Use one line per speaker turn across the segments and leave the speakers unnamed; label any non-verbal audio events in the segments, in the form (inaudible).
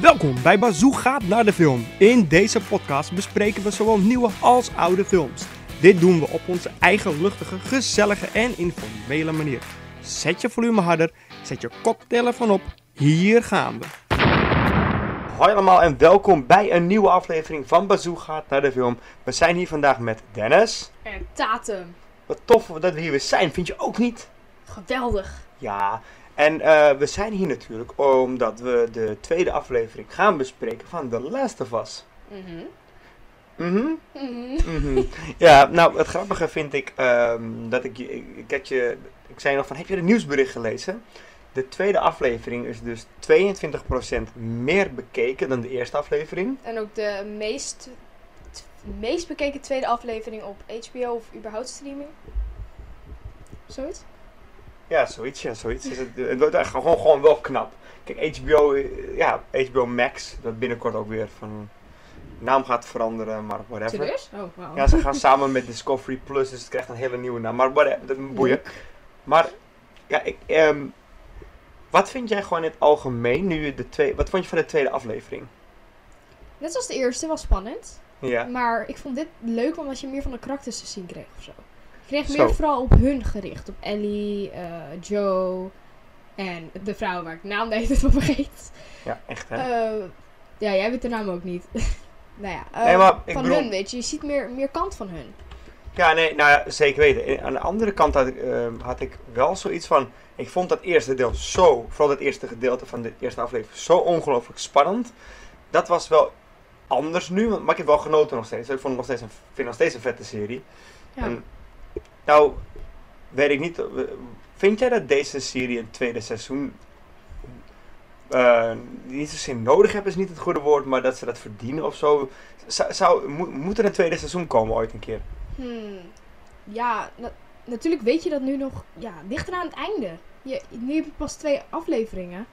Welkom bij Bazoo gaat naar de film. In deze podcast bespreken we zowel nieuwe als oude films. Dit doen we op onze eigen luchtige, gezellige en informele manier. Zet je volume harder, zet je koptelefoon op. Hier gaan we. Hoi allemaal en welkom bij een nieuwe aflevering van Bazoo gaat naar de film. We zijn hier vandaag met Dennis.
En Tatum.
Wat tof dat we hier weer zijn, vind je ook niet?
Geweldig.
Ja, en eh, we zijn hier natuurlijk omdat we de tweede aflevering gaan bespreken van The Last of Us.
Mhm.
Mhm,
Mhm.
mhm. ja, nou het grappige vind ik ehm, dat ik, je- ik, ik, had je, ik zei nog van heb je het nieuwsbericht gelezen? De tweede aflevering is dus 22% meer bekeken dan de eerste aflevering.
En ook de meest, t- meest bekeken tweede aflevering op HBO of überhaupt streaming. Zoiets?
Ja, zoiets, ja, zoiets. Is het, het wordt eigenlijk gewoon, gewoon wel knap. Kijk, HBO, eh, ja, HBO Max, dat binnenkort ook weer van naam gaat veranderen, maar whatever.
Serieus? Oh, wauw.
Ja, ze gaan samen met Discovery Plus, dus het krijgt een hele nieuwe naam. Maar whatever, dat moet boeien. Maar, ja, ik, ehm, wat vind jij gewoon in het algemeen nu je de twee, wat vond je van de tweede aflevering?
Net zoals de eerste was spannend.
Ja,
Maar ik vond dit leuk omdat je meer van de karakters te zien kreeg of zo. Je kreeg
Zo.
meer vooral op hun gericht. Op Ellie, eh, Joe en de vrouw waar ik de naam de hele tijd van vergeet.
ja echt hè.
Eh, ja, jij weet de naam ook niet. (laughs) nou ja, eh,
Nee, maar ik
van
bedoel-
hun weet je. Je ziet meer, meer kant van hun.
Ja, nee, nou ja, zeker weten. En aan de andere kant had ik, ehm, had ik wel zoiets van. Ik vond dat eerste deel zo, vooral dat eerste gedeelte van de eerste aflevering, zo ongelooflijk spannend. Dat was wel anders nu, want- maar ik heb wel genoten nog steeds. Ik vond het nog steeds een, vind het nog steeds een vette serie.
Ja.
En, nou, weet ik niet. eh, Vind jij dat deze serie een tweede seizoen eh, niet zozeer nodig hebben, is niet het goede woord, maar dat ze dat verdienen of zo? Zou, zou, moet, moet er een tweede seizoen komen ooit een keer?
Hmm. Ja, na- natuurlijk weet je dat nu nog ja, dichter aan het einde. Je, nu heb je pas twee afleveringen.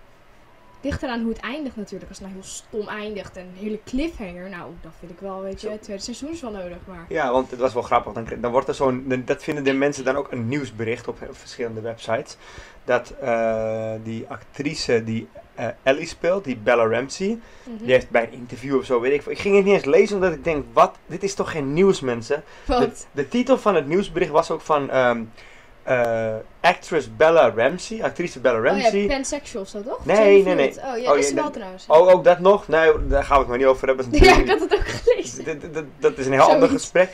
Dichter aan hoe het eindigt natuurlijk. Als het nou heel stom eindigt en een hele cliffhanger. Nou, dat vind ik wel, weet je,
Zo.
het tweede seizoen is wel nodig. Maar
Ja, want het was wel grappig. Dan, dan wordt er zo'n. dan- Dat vinden de mensen dan ook een nieuwsbericht op eh, verschillende websites. Dat eh, die actrice die eh, Ellie speelt, die Bella Ramsey,
Mhm.
die heeft bij een interview of zo, weet ik. veel- Ik ging het niet eens lezen omdat ik denk, wat? Dit is toch geen nieuws, mensen? De,
want oh
de titel van het nieuwsbericht was ook van ehm, eh, actress Bella Ramsey, actrice Bella
Oh ja,
Ramsey.
pansexual is dat toch?
Nee,
Zijn die
nee, nee.
verliefd? Oh ja,
Oh,
is
ja,
ze wel
dat-
trouwens. (laughs)
Oh, ook dat nog? Nee, daar gaan we het maar niet over hebben. Dat is
ja,
natuurlijk-
ik had het ook
(laughs)
gelezen.
dat, dat, dat is een heel ander
Zoiets.
gesprek.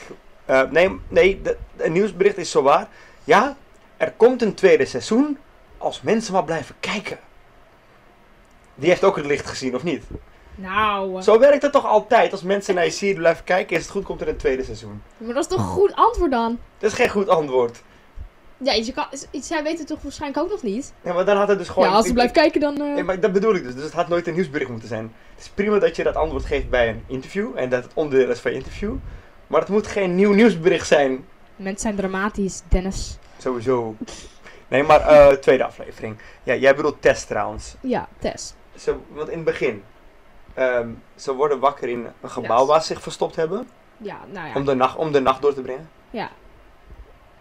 Eh, nee, nee dat- een nieuwsbericht is zo waar. Ja, er komt een tweede seizoen als mensen maar blijven kijken. Die heeft ook het licht gezien, of niet?
Nou,
Zo werkt het toch altijd? Als mensen naar je serie blijven kijken, is het goed, komt er een tweede seizoen.
maar dat is toch een goed antwoord dan?
Dat is geen goed antwoord.
Ja, je kan, zij weten het toch waarschijnlijk ook nog niet?
Nee, maar dan had het dus gewoon...
ja, als ze blijft kijken dan... eh,
Nee, maar dat bedoel ik dus. Dus het had nooit een nieuwsbericht moeten zijn. Het is prima dat je dat antwoord geeft bij een interview. En dat het onderdeel is van je interview. Maar het moet geen nieuw nieuwsbericht zijn.
Mensen zijn dramatisch, Dennis.
Sowieso. Nee, maar eh, tweede aflevering. Ja, jij bedoelt test trouwens.
Ja, Tess.
Ze, want in het begin, ehm, ze worden wakker in een gebouw
Ja.
waar ze zich verstopt hebben.
Ja, nou ja.
Om, de nacht, om de nacht door te brengen.
ja.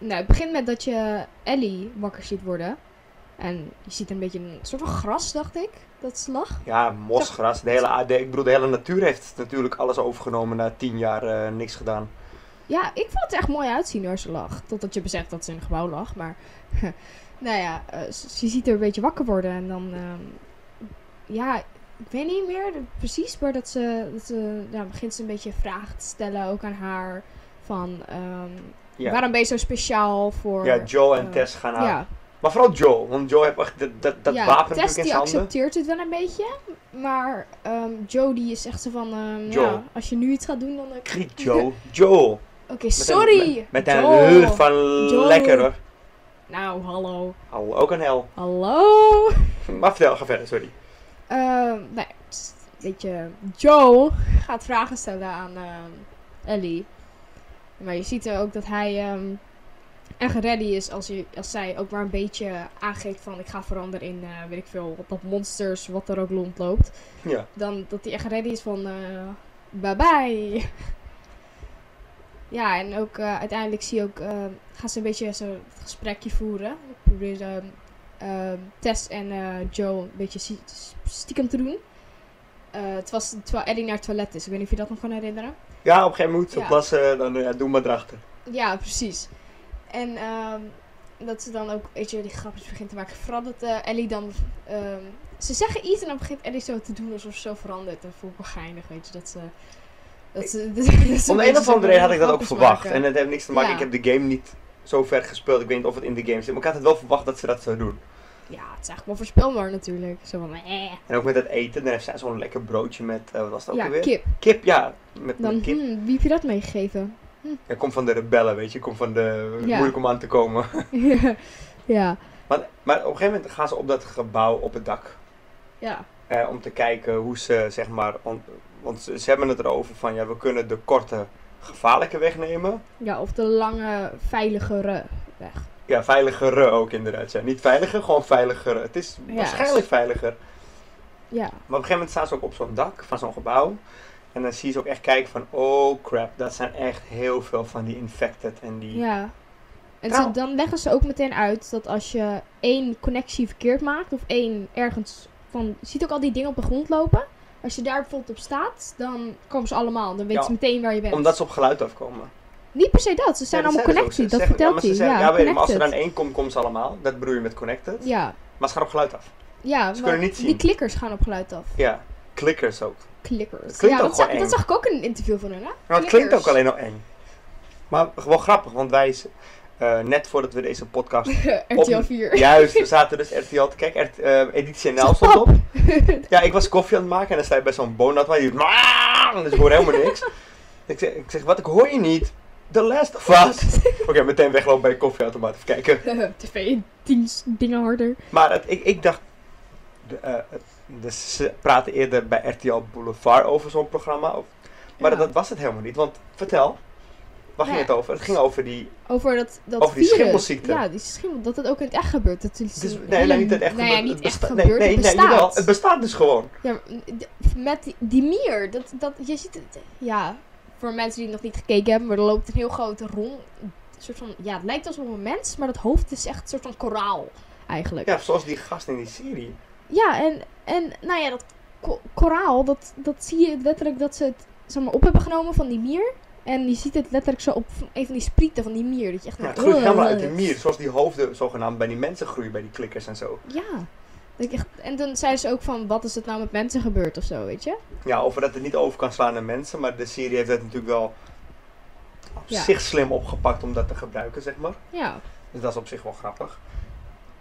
Nou, het begint met dat je Ellie wakker ziet worden. En je ziet een beetje een soort van gras, dacht ik. Dat ze lag.
Ja, mosgras. De hele, aarde- ik bedoel, de hele natuur heeft natuurlijk alles overgenomen na tien jaar eh, niks gedaan.
Ja, ik vond het echt mooi uitzien hoor, ze lag. Totdat je beseft dat ze in een gebouw lag. Maar, (laughs) nou ja, eh, ze- je ziet er een beetje wakker worden. En dan, ehm, ja, ik weet niet meer precies. Maar dat ze, dat ze ja, begint ze een beetje vragen te stellen. Ook aan haar. Van, ehm,
Ja.
waarom ben je zo speciaal voor...
Ja, Joel en
eh,
Tess gaan aan.
ja,
Maar vooral Joel, want Joel heeft echt dat, dat, dat
ja,
wapen
Tess
natuurlijk in
die
zijn handen.
accepteert het wel een beetje. Maar ehm Joe die is echt zo van... ehm,
Joe.
ja, als je nu iets gaat doen, dan... eh, Oké,
Griet Joel. Joel. Met een-
sorry!
met- Met een
Joe.
reur van
Joel.
lekker hoor.
Nou, hallo.
Au, ook een hel. (laughs)
Hallo!
Maar vertel, ga verder, sorry.
Ehm, nou, ja, pst, weet je, Joe gaat vragen stellen aan ehm, Ellie. Maar je ziet ook dat hij ehm, echt ready is als, je, als zij ook maar een beetje aangeeft van... Ik ga veranderen in, eh, weet ik veel, wat dat monsters, wat er ook rondloopt.
Ja.
dan dat hij echt ready is van eh, bye bye. (laughs) ja, en ook eh, uiteindelijk zie je ook, eh, gaan ze een beetje zo'n gesprekje voeren. Ik probeer eh, ehm, ehm, Tess en eh, Joe een beetje sie- stiekem te doen. Eh, het was terwijl Ellie naar het toilet is. Ik weet niet of je dat nog kan herinneren.
Ja, op een gegeven moment
ze Ja.
plassen, dan ja, doe maar erachter.
Ja, precies. En ehm, dat ze dan ook, weet je, die grapjes begint te maken. Vooral dat eh, Ellie dan... ehm, ze zeggen iets en dan begint Ellie zo te doen alsof ze zo verandert. Dat voel ik wel geinig, weet je. Dat ze... Dat ze (laughs) dat ze beetje
Om een of
zo
andere reden had ik dat ook
grapjes
verwacht.
maken.
En het heeft niks te maken,
Ja.
ik heb de game niet zo ver gespeeld. Ik weet niet of het in de game zit, maar ik had het wel verwacht dat ze dat zou doen.
Ja, het is eigenlijk wel voorspelbaar natuurlijk. Zo van, eh.
En ook met het eten, dan heeft zij zo'n lekker broodje met, eh, wat was dat ook
Ja,
alweer?
kip.
Kip, ja. Met,
Dan,
met kip.
hmm, wie heb je dat meegegeven? (laughs)
Ja, kom van de rebellen, weet je. Kom van de...
Ja.
Moeilijk om aan te komen.
ja.
Maar, maar op een gegeven moment gaan ze op dat gebouw op het dak.
Ja.
Eh, om te kijken hoe ze, zeg maar... on- want ze, ze hebben het erover van, ja, we kunnen de korte gevaarlijke weg nemen.
Ja, of de lange, veiligere weg.
Ja, veiligere ook inderdaad. Ja. Niet veiliger, gewoon veiliger. Het is
Ja.
waarschijnlijk veiliger.
Ja.
Maar op een gegeven moment staan ze ook op zo'n dak van zo'n gebouw. En dan zie je ze ook echt kijken van, oh crap, dat zijn echt heel veel van die infected en die...
Ja. En
Trouw.
ze, dan leggen ze ook meteen uit dat als je één connectie verkeerd maakt, of één ergens van. Je ziet ook al die dingen op de grond lopen. Als je daar bijvoorbeeld op staat, dan komen ze allemaal. Dan weten
Ja,
ze meteen waar je bent.
Omdat ze op geluid afkomen.
Niet per se dat, ze zijn
Ja, dat
allemaal
zeiden ze
connected.
ook. Ze
Dat
zeggen- ja, maar ze zeggen-
vertelt hij. Ja,
ja, weet je, maar als er
connected.
dan één komt, komt ze allemaal. Dat bedoel je met connected.
Ja,
Maar ze gaan op geluid af.
ja
Ze
maar
kunnen niet zien.
die klikkers gaan op geluid af.
Ja, klikkers ook.
Klikkers.
Het klinkt
ja,
ook
dat, zag,
gewoon
dat
eng.
zag ik ook in een interview van hun, hè? (laughs)
Nou, het klinkt
Klikkers.
ook alleen al eng. Maar gewoon grappig, want wij, eh, net voordat we deze podcast... (laughs)
RTL (laughs) 4.
Juist, we zaten dus RTL te kijken. RT, eh, editie NL stond op. Ja, ik was koffie aan het maken en dan sta je bij zo'n boonat waar je... Dus ik hoor helemaal niks. Ik zeg, ik zeg, wat, ik hoor je niet. The Last of Us. Oké, meteen weglopen bij een koffieautomaat. Even kijken.
TV, teams, dingen harder.
Maar het- ik, ik dacht. De, eh, dus ze praten eerder bij RTL Boulevard over zo'n programma. Of, maar
Ja. Nou
dat was het helemaal niet. Want vertel, waar ging
Ja.
het over? Het ging over die.
Over dat, dat
Over die
virus.
schimmelziekte.
Ja, die schimmel, dat het ook in het echt gebeurt. Dat is
Dus,
een
nee,
hele-
nee, niet het echt
nou ja,
gebeurt.
niet
het
echt
besta-
gebeurt,
nee,
het
nee,
bestaat.
jawel, het bestaat dus gewoon.
Ja, maar mm, d- met die, die mier, dat, dat, je ziet het, ja, voor mensen die het nog niet gekeken hebben, maar er loopt een heel groot rond, soort van, ja, het lijkt alsof een mens, maar dat hoofd is echt een soort van koraal, eigenlijk.
Ja, zoals die gast in die serie.
Ja, en, en nou ja, dat ko- koraal, dat, dat zie je letterlijk dat ze het zeg maar, op hebben genomen van die mier. En je ziet het letterlijk zo op een van die sprieten van die mier. Dat je echt
Ja, het
denkt,
groeit
"Ugh."
helemaal uit de mier. Zoals die hoofden zogenaamd bij die mensen groeien, bij die klikkers en zo.
Ja. Dat ik echt, en dan zei ze ook van, wat is het nou met mensen gebeurd of zo, weet je?
Ja, over dat het niet over kan slaan naar mensen. Maar de serie heeft dat natuurlijk wel op
Ja.
zich slim opgepakt om dat te gebruiken, zeg maar.
Ja.
Dus dat is op zich wel grappig.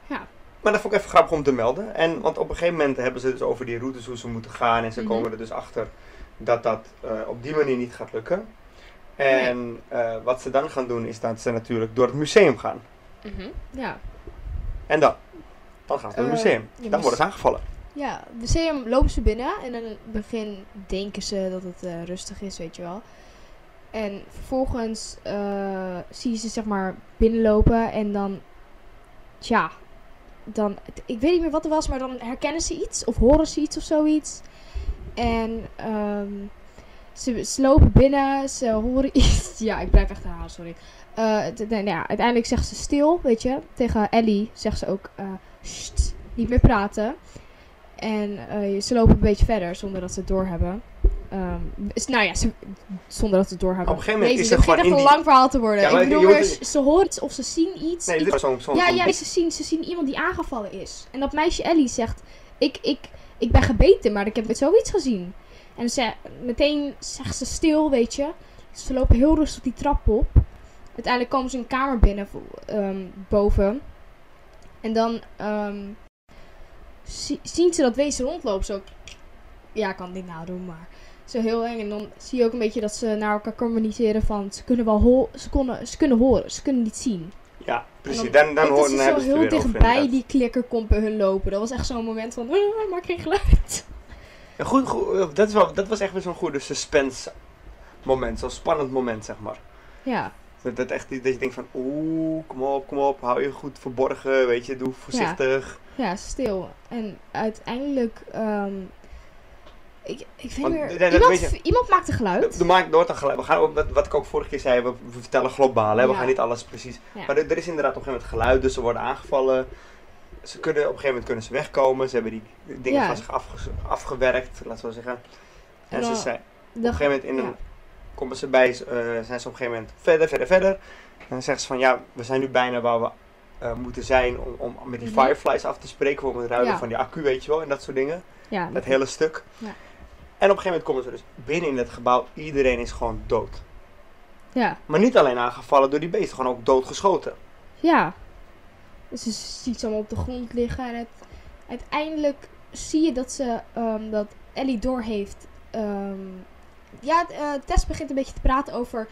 Ja.
Maar dat vond ik even grappig om te melden. En, want op een gegeven moment hebben ze dus over die routes hoe ze moeten gaan. En ze
Mhm.
komen er dus achter dat dat eh, op die manier niet gaat lukken. En eh, wat ze dan gaan doen is dat ze natuurlijk door het museum gaan.
Ja.
En dan? Dan gaan ze door het
Eh,
museum.
je
Dan
moest-
worden ze aangevallen.
Ja, het museum lopen ze binnen en in het begin denken ze dat het eh, rustig is, weet je wel. En vervolgens eh, zie je ze zeg maar binnenlopen en dan, tja, dan, ik weet niet meer wat er was, maar dan herkennen ze iets of horen ze iets of zoiets. En ehm, ze, ze lopen binnen, ze horen (laughs) iets. Ja, ik blijf echt herhalen, sorry. Eh, d- nou ja, uiteindelijk zegt ze stil, weet je. Tegen Ellie zegt ze ook, eh, "Sst, niet meer praten. En eh, ze lopen een beetje verder zonder dat ze het doorhebben. Ehm, is- nou ja, ze- zonder dat ze het doorhebben.
Op een gegeven moment is
Jezus,
er
dit
gewoon
begint echt
in
een lang verhaal te worden.
Ja, maar
ik bedoel,
je
meer,
hoort-
ze, ze horen iets of ze zien iets.
Nee,
Ik-
dit was zo'n... zo'n
ja, dus-
zo'n
ja,
blik.
ze zien, ze zien iemand die aangevallen is. En dat meisje Ellie zegt: ik, ik, ik ben gebeten, maar ik heb zoiets gezien. En ze, meteen zegt ze stil, weet je. Ze lopen heel rustig die trap op. Uiteindelijk komen ze een kamer binnen vo- ehm, boven. En dan ehm, zi- zien ze dat wezen rondlopen. Zo, ja, ik kan het niet nadoen, maar zo heel eng. En dan zie je ook een beetje dat ze naar elkaar communiceren van ze kunnen wel ho- ze, konden, ze kunnen horen, ze kunnen niet zien.
Ja, precies.
En
Dan, dan
Het
horen
is dus
dan hebben
zo
ze het
heel
er weer over,
dichtbij
inderdaad.
die klikker komt bij hun lopen. Dat was echt zo'n moment van, "Ah, maak geen geluid.
Ja, goed, goed, eh, dat, is wel, dat was echt weer zo'n goede suspense moment. Zo'n spannend moment, zeg maar.
Ja,
Dat, dat, echt, dat je denkt van, oeh, kom op, kom op, hou je goed verborgen, weet je, doe voorzichtig.
ja, stil. En uiteindelijk, ehm, ik, ik vind
Want,
meer,
nee, dat
iemand,
weet je-
iemand maakt een geluid.
De, de markt nooit een geluid. We gaan ook, wat, wat ik ook vorige keer zei, we, we vertellen globaal, hè? we
Ja.
gaan niet alles precies.
Ja.
Maar er, er is inderdaad op een gegeven moment geluid, dus ze worden aangevallen. ze kunnen, op een gegeven moment kunnen ze wegkomen. Ze hebben die dingen
Ja.
van zich afge- afgewerkt, laten we zeggen. En,
En dan-
ze zijn,
Dan-
op een gegeven moment in een,
ja.
komen ze bij, eh, zijn ze op een gegeven moment verder, verder, verder. En dan zeggen ze van ja, we zijn nu bijna waar we eh, moeten zijn om, om met die
Mhm.
fireflies af te spreken. Om het ruilen
Ja.
van die accu, weet je wel, en dat soort dingen.
ja,
Dat hele stuk.
Ja.
En op een gegeven moment komen ze dus binnen in het gebouw. Iedereen is gewoon dood.
ja,
Maar niet alleen aangevallen door die beesten, gewoon ook doodgeschoten.
ja. Dus je ziet ze allemaal op de grond liggen. En het, uiteindelijk zie je dat ze ehm, dat Ellie doorheeft. ehm ja, eh, Tess begint een beetje te praten over.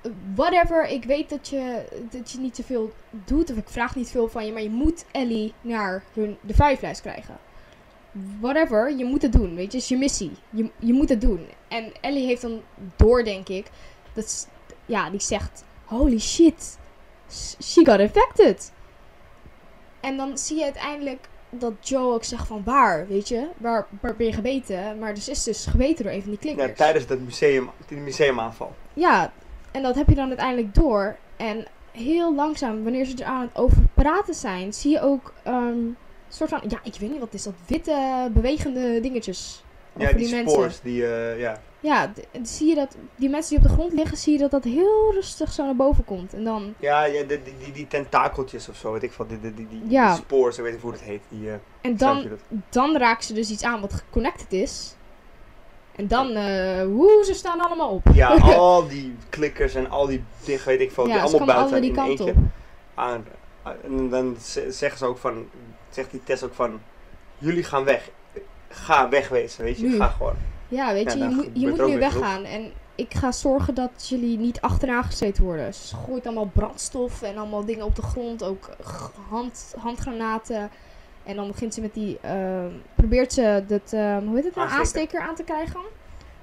eh, Whatever, ik weet dat je, dat je niet zoveel doet, of ik vraag niet veel van je, maar je moet Ellie naar hun, de Fireflies krijgen. Whatever, je moet het doen, weet je, het is je missie. Je, je moet het doen. En Ellie heeft dan door, denk ik, dat s- ja, die zegt: Holy shit, s- she got infected. En dan zie je uiteindelijk dat Joe ook zegt: van waar, weet je, waar, waar ben je gebeten? Maar dus is dus gebeten door een van die klikkers.
Ja, tijdens dat museum, die museumaanval.
Ja, en dat heb je dan uiteindelijk door. En heel langzaam, wanneer ze er aan het over praten zijn, zie je ook ehm, een soort van, ja, ik weet niet wat het is dat witte bewegende dingetjes.
Ja,
over
die, spoors, die, eh, ja.
Ja, d- en zie je dat die mensen die op de grond liggen, zie je dat dat heel rustig zo naar boven komt. En dan,
Ja, ja die, die, die, die tentakeltjes of zo, weet ik wat. Die, die, die, die,
Ja.
die spoors, ik weet niet hoe het heet. Die, eh,
en
zou je
dan,
dat?
dan raakt ze dus iets aan wat geconnected is. En dan, eh woe, ze staan allemaal op. (laughs)
Ja, al die klikkers en al die dingen, weet ik veel,
Ja,
die
ze
allemaal
komen
buiten
allemaal
in
die
eentje.
kant
Aan, Ah, en dan ze- zeggen ze ook van, zegt die Tess ook van, jullie gaan weg. Ga wegwezen, weet je.
Nu.
Ga gewoon.
Ja, weet
Ja,
je,
nou,
je moet,
gebeurt
je
er
moet
ook
nu
weer genoeg.
weggaan. En ik ga zorgen dat jullie niet achteraan gezeten worden. Dus Ze gooit allemaal brandstof en allemaal dingen op de grond. Ook g- hand, handgranaten. En dan begint ze met die... ehm, probeert ze dat, ehm, hoe heet het nou?
Aansteker.
Aansteker aan te krijgen.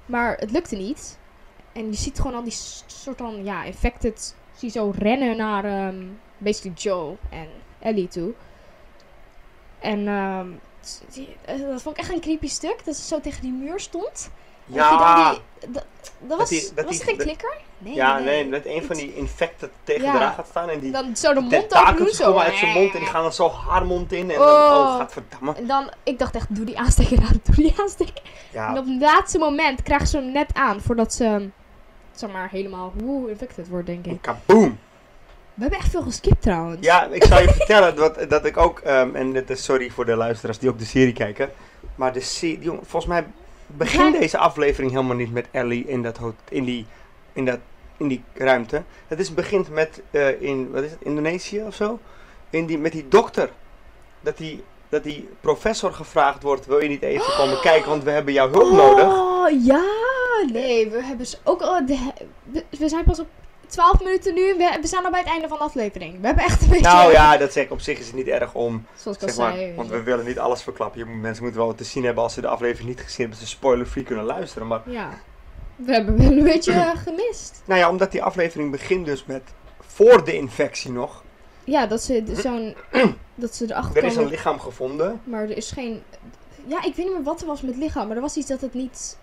Maar het lukte niet. En je ziet gewoon al die s- soort van, ja, infected... Zie zo rennen naar ehm basically Joe en Ellie toe. En ehm, s- die- eh, dat vond ik echt een creepy stuk. Dat ze zo tegen die muur stond. Ja. je
Ja,
dan die, dat, dat was,
die- dat die-
was het geen
dat-
klikker? Nee,
ja, nee, dat een van die infecten tegen
Ja.
de raad gaat staan en die
Dan zo de mond open doen,
tentakels
zo.
komen uit zijn mond en die gaan dan zo haar mond in en dan,
Oh.
oh, gaat verdammen.
En dan, ik dacht echt, doe die aansteker aan, (laughs) doe die aansteker. En
Ja,
op het laatste moment krijgt ze hem net aan, voordat ze, ehm, zeg maar, helemaal, hoe infected wordt, denk ik.
kaboom!
We hebben echt veel geskipt, trouwens.
Ja, ik zou je vertellen dat, dat ik ook, ehm, en dit is sorry voor de luisteraars die ook de serie kijken, maar de serie, jongen, volgens mij begint
Ja.
deze aflevering helemaal niet met Ellie in, dat, hot- in, die, in, dat, in die ruimte. Het is, begint met, eh, in, wat is het, Indonesië of zo? In die, met die dokter. Dat die, dat die professor gevraagd wordt, wil je niet even komen kijken, want we hebben jouw hulp nodig.
Oh, ja. Nee, we hebben ze ook al... de- we, we zijn pas op 12 minuten nu en we, we zijn al bij het einde van de aflevering. We hebben echt een beetje...
Nou ja, dat zeg ik op zich is het niet erg om
Zoals ik al
Zeg maar,
zei.
want we willen niet alles verklappen. Je moet- mensen moeten wel wat te zien hebben als ze de aflevering niet gezien hebben. Ze spoiler-free kunnen luisteren. Maar
Ja. We hebben wel een beetje eh,
(clears throat)
gemist.
nou ja, omdat die aflevering begint dus met voor de infectie nog.
Ja, dat ze d- zo'n. dat ze erachter
Hm? Er is een
komen.
lichaam gevonden.
Maar er is geen. Ja, ik weet niet meer wat er was met het lichaam. Maar er was iets dat het niet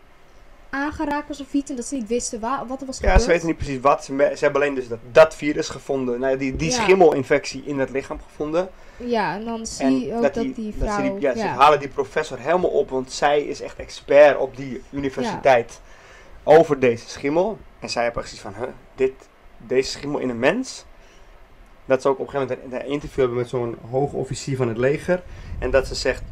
aangeraakt was of iets. En dat ze niet wisten wa- wat er was
Ja,
gebeurd.
ze weten niet precies wat. Ze, me- ze hebben alleen dus dat, dat virus gevonden. Nou, ja, die die
Ja.
schimmelinfectie in het lichaam gevonden.
Ja, en dan zie
En
je ook dat die,
dat
vrouw.
ze die, ja, ze
ja.
halen die professor helemaal op. Want zij is echt expert op die universiteit over deze schimmel. En zij hebben precies van, huh, dit, deze schimmel in een mens? Dat ze ook op een gegeven moment een een interview hebben met zo'n hoog officier van het leger. En dat ze zegt,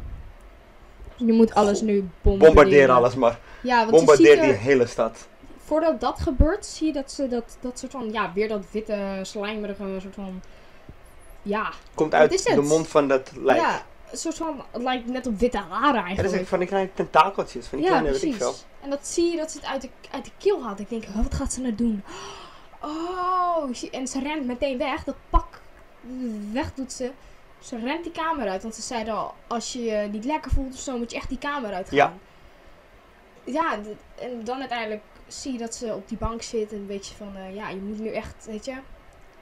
je moet alles
Goh,
nu bombarderen.
bombardeer alles maar.
Ja, want je ziet
Bombardeer
er-
die hele stad.
voordat dat gebeurt, zie je dat ze dat, dat soort van. Ja, weer dat witte, slijmerige soort van. Ja,
Komt
Wat is
uit
het?
de mond van dat lijk.
ja een soort van. Het lijkt net op witte haren
En dat
eigenlijk.
is echt van die kleine tentakeltjes, van die kleine weet ik veel.
En dat zie je dat ze het uit de, uit de keel haalt. Ik denk, "Huh, wat gaat ze nou doen? Oh, ik zie- en ze rent meteen weg. Dat pak weg doet ze. Ze rent die kamer uit. Want ze zeiden al, als je je niet lekker voelt of zo, moet je echt die kamer uit gaan. Ja. d- en dan uiteindelijk zie je dat ze op die bank zit. En een beetje van, eh, ja, je moet nu echt, weet je...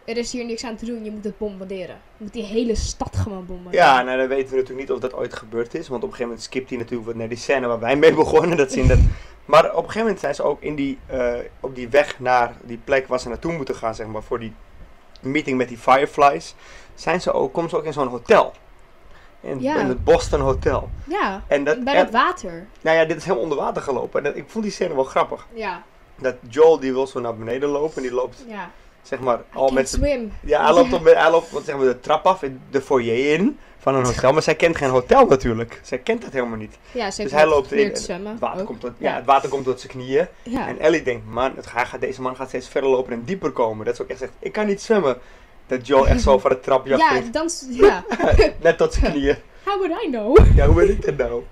Er is hier niks aan te doen, je moet het bombarderen. Je moet die hele stad gewoon bombarderen.
Ja, nou dan weten we natuurlijk niet of dat ooit gebeurd is. Want op een gegeven moment skipt hij natuurlijk wat naar die scène waar wij mee (laughs) begonnen. Dat ze in dat... Maar op een gegeven moment zijn ze ook in die, eh, op die weg naar die plek waar ze naartoe moeten gaan, zeg maar, voor die meeting met die Fireflies. Zijn ze ook, komen ze ook in zo'n hotel. In,
Ja.
in het Boston Hotel.
Ja,
En dat,
bij
en-
dat water.
nou ja, dit is helemaal onder water gelopen. En dat- ik vond die scène wel grappig.
Ja,
Dat Joel, die wil zo naar beneden lopen. En die loopt,
ja.
zeg maar,
I
al
can
Oh, met zijn...
swim.
Ja, hij loopt, op, hij loopt wat zeggen we, de trap af, de foyer in van een hotel. Maar zij kent geen hotel natuurlijk. Zij kent dat helemaal niet.
Ja, ze
Dus
heeft
hij loopt
geleerd
in
te zwemmen.
Het water,
ook.
komt tot,
Ja.
ja, het water komt tot zijn knieën.
Ja.
En Ellie denkt, man, het, hij gaat, deze man gaat steeds verder lopen en dieper komen. Dat ze ook echt zegt, ik kan niet zwemmen. Dat Joel echt zo van het trapje af
(laughs) ja, dan... s- Ja.
Net tot zijn
(laughs)
knieën.
How would I
(laughs)
know?
Ja, hoe weet ik dat nou?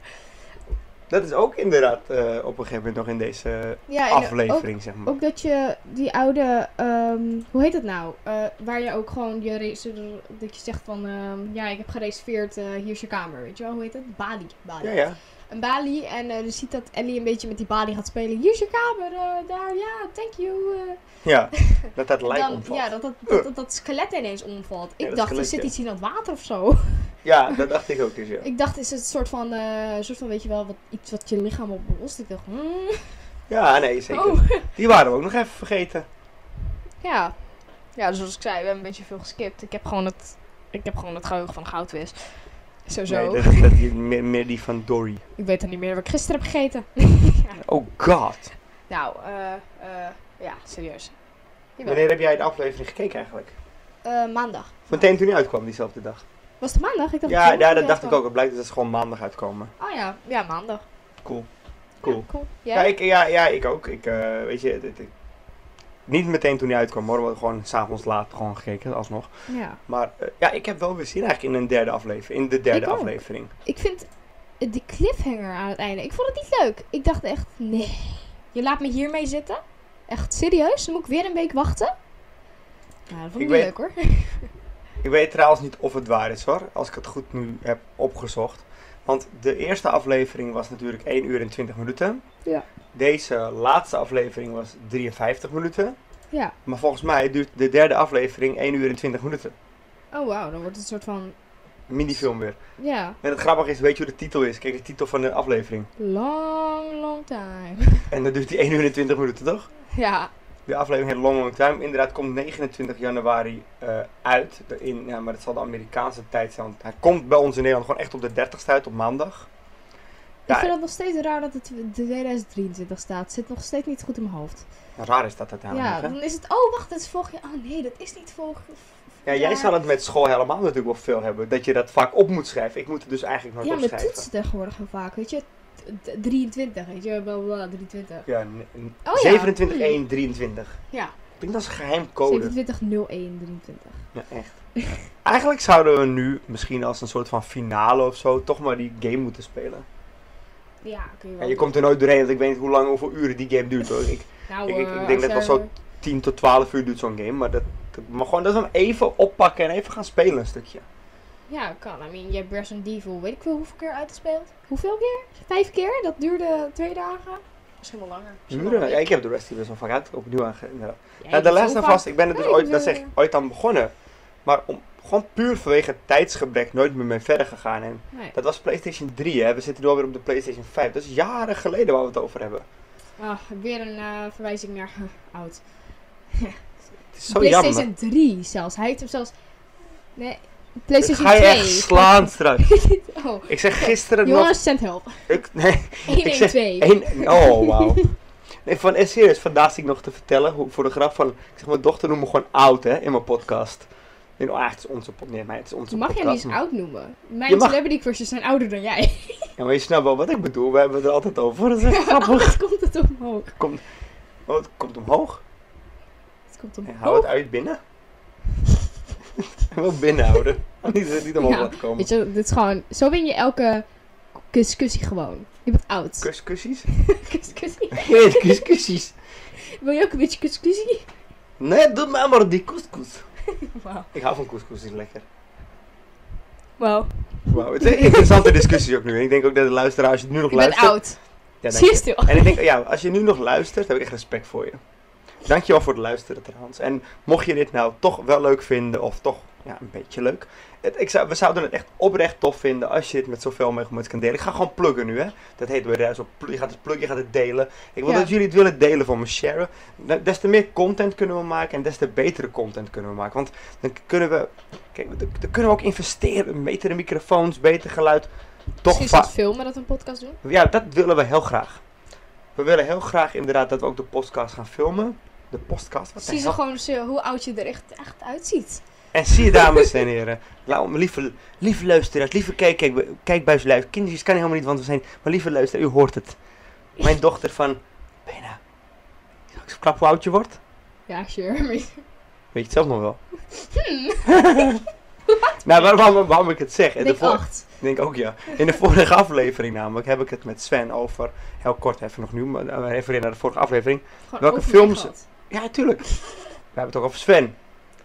Dat is ook inderdaad eh, op een gegeven moment nog in deze
Ja, en
aflevering, zeg maar.
Ook dat je die oude, ehm, hoe heet dat nou? Eh, waar je ook gewoon je reser- dat je zegt van, ehm, ja, ik heb gereserveerd, eh, hier is je kamer, weet je wel? Hoe heet het? Bali. Bali.
Ja, ja.
Een Bali en eh, je ziet dat Ellie een beetje met die Bali gaat spelen. Hier is je kamer, eh, daar, ja, thank you. eh.
Ja, dat dat lijk
Dan-
omvalt.
ja,
Ja,
dat dat, dat, dat dat skelet ineens omvalt. Ik
dat
dacht, er
skelet,
zit
ja.
iets in dat water of zo.
dat dacht ik ook dus, ja.
Ik dacht, is het een soort van, eh, soort van weet je wel, wat, iets wat je lichaam oplost? Ik dacht, hmm,
Ja, nee, zeker.
oh.
Die waren we ook nog even vergeten.
Ja. Ja, dus zoals ik zei, we hebben een beetje veel geskipt. Ik heb gewoon het, ik heb gewoon het geheugen van goudwis. Sowieso.
Nee, dat, dat, die- meer, meer die van Dory.
Ik weet dan niet meer wat ik gisteren heb gegeten.
Oh god.
Nou, eh, eh, ja, serieus. Jawel.
Wanneer heb jij de aflevering gekeken eigenlijk?
Eh, maandag.
Meteen toen die uitkwam, diezelfde dag.
Was het maandag? Ik dacht
Ja,
zondag
ja, dat
ergens
dacht ik
kwam.
ook. Het blijkt dat ze gewoon maandag uitkomen.
Oh ja, ja, maandag.
Cool. Cool.
Ja, cool. Jij?
Ja, ik, ja, ja, ik ook. Ik, eh, weet je, dit- ik- niet meteen toen die uitkwam hoor. want Gewoon s'avonds laat gewoon gekeken, alsnog.
ja.
Maar eh, ja, ik heb wel weer zin eigenlijk in een derde aflevering. In de derde
Ik ook.
aflevering.
Ik vind eh, die cliffhanger aan het einde, ik vond het niet leuk. Ik dacht echt, nee. Je laat me hiermee zitten? Echt serieus? Dan moet ik weer een week wachten? Nou, dat vond ik,
Ik
niet
weet-
leuk hoor. (laughs)
Ik weet trouwens niet of het waar is hoor, als ik het goed nu heb opgezocht. Want de eerste aflevering was natuurlijk 1 uur en 20 minuten.
Ja.
Deze laatste aflevering was 53 minuten.
Ja.
Maar volgens mij duurt de derde aflevering 1 uur en 20 minuten.
Oh wauw, dan wordt het een soort van
Minifilm weer.
Ja,
En het grappige is, weet je hoe de titel is? Kijk, de titel van de aflevering.
long, long time. (laughs)
En dan duurt die 1 uur en 20 minuten, toch?
ja,
De aflevering heet Long Long Time. Inderdaad, komt 29 januari eh, uit. In, ja, maar dat zal de Amerikaanse tijd zijn. Want hij komt bij ons in Nederland gewoon echt op de 30ste uit, op maandag.
ik
Ja,
vind het nog steeds raar dat het de 2023 staat. Zit nog steeds niet goed in mijn hoofd.
Raar is dat
Ja,
uiteindelijk. hè?
dan is het, oh wacht, dat is vorig jaar. Oh nee, dat is niet vorig
Ja, jij zal het met school helemaal natuurlijk wel veel hebben. Dat je dat vaak op moet schrijven. Ik moet het dus eigenlijk nooit
Ja, met
opschrijven.
toetsen tegenwoordig heel vaak, weet je. T- t- 23, weet je, bla bla, bla, 23.
Ja, n- n-
Oh ja.
27, 1, 23.
Ja,
Ik denk dat is een geheim code.
27, 01, 23.
Ja, echt. (laughs) eigenlijk zouden we nu misschien als een soort van finale of zo toch maar die game moeten spelen.
Ja, kun je wel.
En je
doen.
komt er nooit doorheen, want ik weet niet hoe lang, hoeveel uren die game duurt hoor. Ik,
nou,
ik- ik- ik
eh,
denk
als
dat
jij-
wel 10 tot 12 uur duurt zo'n game, maar dat, dat, maar gewoon dat we hem even oppakken en even gaan spelen een stukje.
Ja, kan. I mean, je hebt Resident Evil, weet ik veel hoeveel keer uitgespeeld. Hoeveel keer? Vijf keer? Dat duurde twee dagen. Misschien wel langer. Misschien wel
Uren?
een
Ja,
week.
ik heb de rest hier best wel vaak uit, opnieuw aange... nou, inderdaad.
Ja,
Ja,
ik
de
heb
Last
zo
of
vaak-
Us, ik ben er dus
Nee, eh,
ooit,
ik
dat
bedoel-
zeg, ik, ooit aan begonnen. Maar om, gewoon puur vanwege tijdsgebrek nooit meer mee verder gegaan. En
Nee.
dat was PlayStation 3, hè. We zitten nu alweer op de PlayStation 5. Dat is jaren geleden waar we het over hebben.
Ah, weer een eh, verwijzing naar (laughs) huh, oud.
Het is zo
PlayStation
jammer.
3 zelfs. Hij heeft hem zelfs. Nee,
Ik
PlayStation
ga je
2.
echt slaan
(laughs)
straks.
Oh,
Ik zeg gisteren nog...
Jonas, send help.
Ik, nee,
(laughs)
ik zeg
112.
één... Oh, wauw. Nee, van, eh, serieus, vandaag zit ik nog te vertellen hoe, voor de grap van... Ik zeg, mijn dochter noemt me gewoon oud, hè, in mijn podcast. Nee, oh, ah, het is onze podcast. Nee, maar het is onze
Je mag jij
podcast.
niet eens oud noemen. Mijn
Je mag-
celebrity crushes zijn ouder dan jij.
Ja, maar je snapt wel wat ik bedoel. We hebben het er altijd over.
(laughs)
Dat is echt grappig.
Het komt het omhoog.
Komt, oh, het komt omhoog.
Het komt
En
omhoog.
hou het uit binnen. (laughs) wel binnenhouden. (laughs) niet, niet omhoog
Ja,
laten komen.
Weet je, dit is gewoon. Zo win je elke discussie gewoon. Je bent oud.
(laughs) Kuskussies?
(laughs) Discussie. (laughs)
Nee, kuskussies.
Wil je ook een beetje discussie?
Nee, doe maar maar die couscous.
Wauw.
Ik hou van couscous, die is lekker.
Wauw.
Wauw, het is een interessante discussie ook nu. En ik denk ook dat de luisteraar, als je het nu nog
Je bent
luistert...
oud.
Ja,
Zie
dank
je
je.
(laughs) stil.
En ik denk, ja, als je nu nog luistert, heb ik echt respect voor je. Dankjewel voor het luisteren trouwens. En mocht je dit nou toch wel leuk vinden, of toch ja, een beetje leuk. Het, ik zou, we zouden het echt oprecht tof vinden als je dit met zoveel mogelijk mensen kan delen. Ik ga gewoon pluggen nu, hè. Dat heet bij Rijs op. pl- Je gaat het pluggen, je gaat het delen. Ik wil
Ja.
dat jullie het willen delen voor me, sharen. Nou, Des te meer content kunnen we maken en des te betere content kunnen we maken. Want dan kunnen we... Kijk, dan, dan kunnen we ook investeren. Betere microfoons, beter geluid. Toch
Misschien
va-
is het filmen dat we een podcast doen.
ja, dat willen we heel graag. We willen heel graag inderdaad dat we ook de podcast gaan filmen. De podcast, wat de
Precies
hel?
gewoon zo, hoe oud je er echt, echt uitziet.
En zie je, dames en heren. Laat, lieve, lieve luisteraars, lieve kijk, kijk, kijk bij live. Kindertjes kan helemaal niet, want we zijn... Maar lieve luisteraar, u hoort het.
(laughs)
Mijn dochter van... Bijna... Zal ik eens klap hoe oud je wordt?
Ja, sure. maar-
Weet je het zelf nog wel? (laughs)
(laughs)
nou, waar- waarom, waarom ik het zeg? in de
Hmm. Denk
vor-
acht.
Ik denk ook ja. In de vorige aflevering namelijk heb ik het met Sven over... Heel kort even nog nu, maar eh, even weer naar de vorige aflevering.
Gewoon
Welke
overweg
films-
had.
Ja, tuurlijk. We hebben het ook over Sven.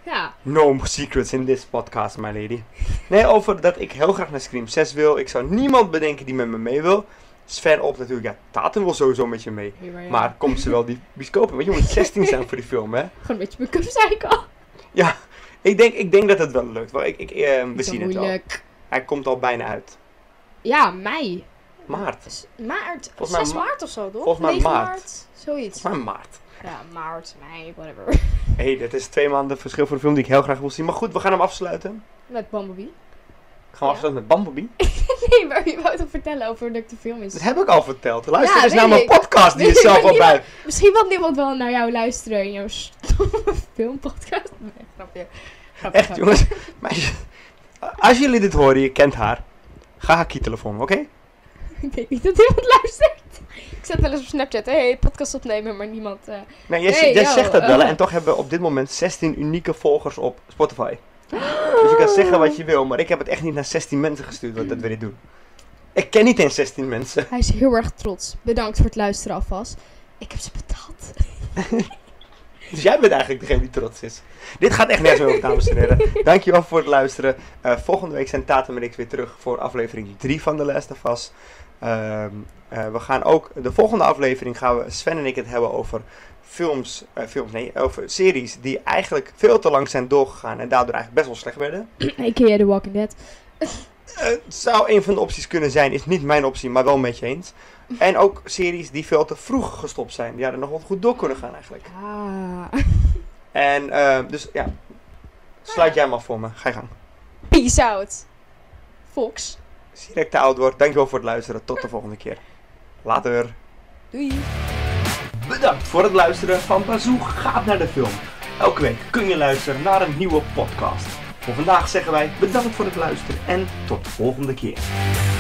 Ja,
No secrets in this podcast, my lady. Nee, over dat ik heel graag naar Scream 6 wil. Ik zou niemand bedenken die met me mee wil. Sven op natuurlijk. Ja, Tatum wil sowieso met je mee.
hier maar, ja.
Maar komt ze wel die bioscopen? Want je moet 16 zijn voor die film, hè?
Gewoon een beetje make-up psycho.
Ja, ik denk, ik denk dat het wel lukt. Maar ik, ik, eh, we
Niet zo
zien het wel.
moeilijk.
Hij komt al bijna uit.
Ja, mei.
Maart.
S- Maart.
Volgens mij
6
ma-
maart of zo, toch?
volgens mij
9
maart.
Zoiets.
Maar maart.
Ja, maart, mei, whatever.
Hé, hey, dat is twee maanden verschil voor de film die ik heel graag wil zien. Maar goed, we gaan hem afsluiten.
Met Bumblebee.
Gaan we afsluiten met Bumblebee?
(laughs) Nee, maar je wou toch vertellen over hoe leuk de film
Dat
is?
heb ik al verteld. Luister
Ja,
eens
weet
naar mijn
(laughs) ik.
podcast die je
Nee,
zelf
maar
al bij...
Misschien wil niemand wel naar jou luisteren in jouw stomme (laughs) filmpodcast. Nee, grapje. Grapje,
Echt
grapje.
jongens, (laughs) meisjes. Als jullie dit horen, je kent haar. Ga haar kietelefoon, oké?
Ik denk niet dat iemand luistert. Ik zet wel eens op Snapchat, hé, hey, podcast opnemen, maar niemand... eh,
Nee, jij,
Nee,
jij
yo,
zegt dat wel
eh.
en toch hebben we op dit moment 16 unieke volgers op Spotify. Dus je kan zeggen wat je wil, maar ik heb het echt niet naar 16 mensen gestuurd wat dat wil ik doen. Ik ken niet eens 16 mensen.
Hij is heel erg trots. Bedankt voor het luisteren alvast. Ik heb ze betaald.
Dus jij bent eigenlijk degene die trots is. Dit gaat echt nergens meer over, dames en heren. Dankjewel voor het luisteren. Eh, volgende week zijn Tatum en ik weer terug voor aflevering 3 van The Last of Us. Ehm, eh, we gaan ook, de volgende aflevering gaan we Sven en ik het hebben over films, eh, films, nee, over series die eigenlijk veel te lang zijn doorgegaan en daardoor eigenlijk best wel slecht werden.
A.k.a. The Walking Dead.
Het zou een van de opties kunnen zijn, is niet mijn optie, maar wel met je eens. En ook series die veel te vroeg gestopt zijn, die hadden nog wel goed door kunnen gaan eigenlijk.
Ah.
En ehm, dus ja, sluit jij maar voor me. Ga je gang.
Peace out. Fox.
Als je direct te oud wordt, dankjewel voor het luisteren. Tot de volgende keer. Later.
Doei.
Bedankt voor het luisteren van Bazoo gaat naar de film. Elke week kun je luisteren naar een nieuwe podcast. Voor vandaag zeggen wij bedankt voor het luisteren en tot de volgende keer.